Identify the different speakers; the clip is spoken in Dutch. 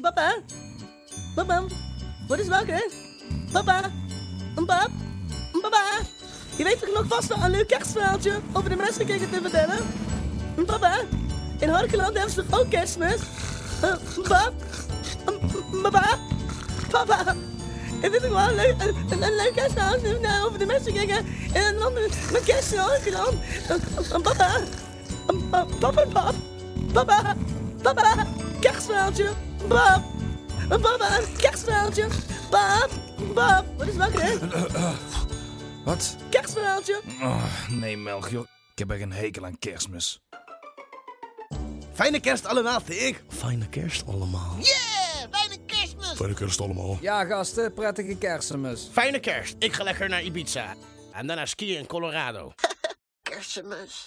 Speaker 1: Papa? Papa, wat is wakker? Papa? Een pap? Een papa? Je weet toch nog vast wel een leuk kerstverhaaltje over de mensenkikker te vertellen? Een papa? In Horkeland hebben ze toch ook kerstmis? Eh, Een pap? Een papa? Papa? Ik vind het wel leuk, een, een, een leuk kerstverhaaltje nou, over de mensenkikker in een land met, met kerst in Horkeland. Een- Een eh, papa? Een pa- pap en pap? Papa? Papa? Kerstverhaaltje? Pap? Een papa? Kerstverhaaltje? Pap? Pap? Wat is wakker, hè?
Speaker 2: Wat?
Speaker 1: Kerstverhaaltje?
Speaker 2: Oh, nee, Melchior. Ik heb echt een hekel aan kerstmis.
Speaker 3: Fijne kerst allemaal, ik.
Speaker 4: Fijne kerst allemaal.
Speaker 5: Yeah, bijna kerstmis.
Speaker 4: Fijne kerst allemaal.
Speaker 6: Ja, gasten, prettige kerstmis.
Speaker 3: Fijne kerst. Ik ga lekker naar Ibiza. En daarna skiën in Colorado.
Speaker 5: Kerstmis.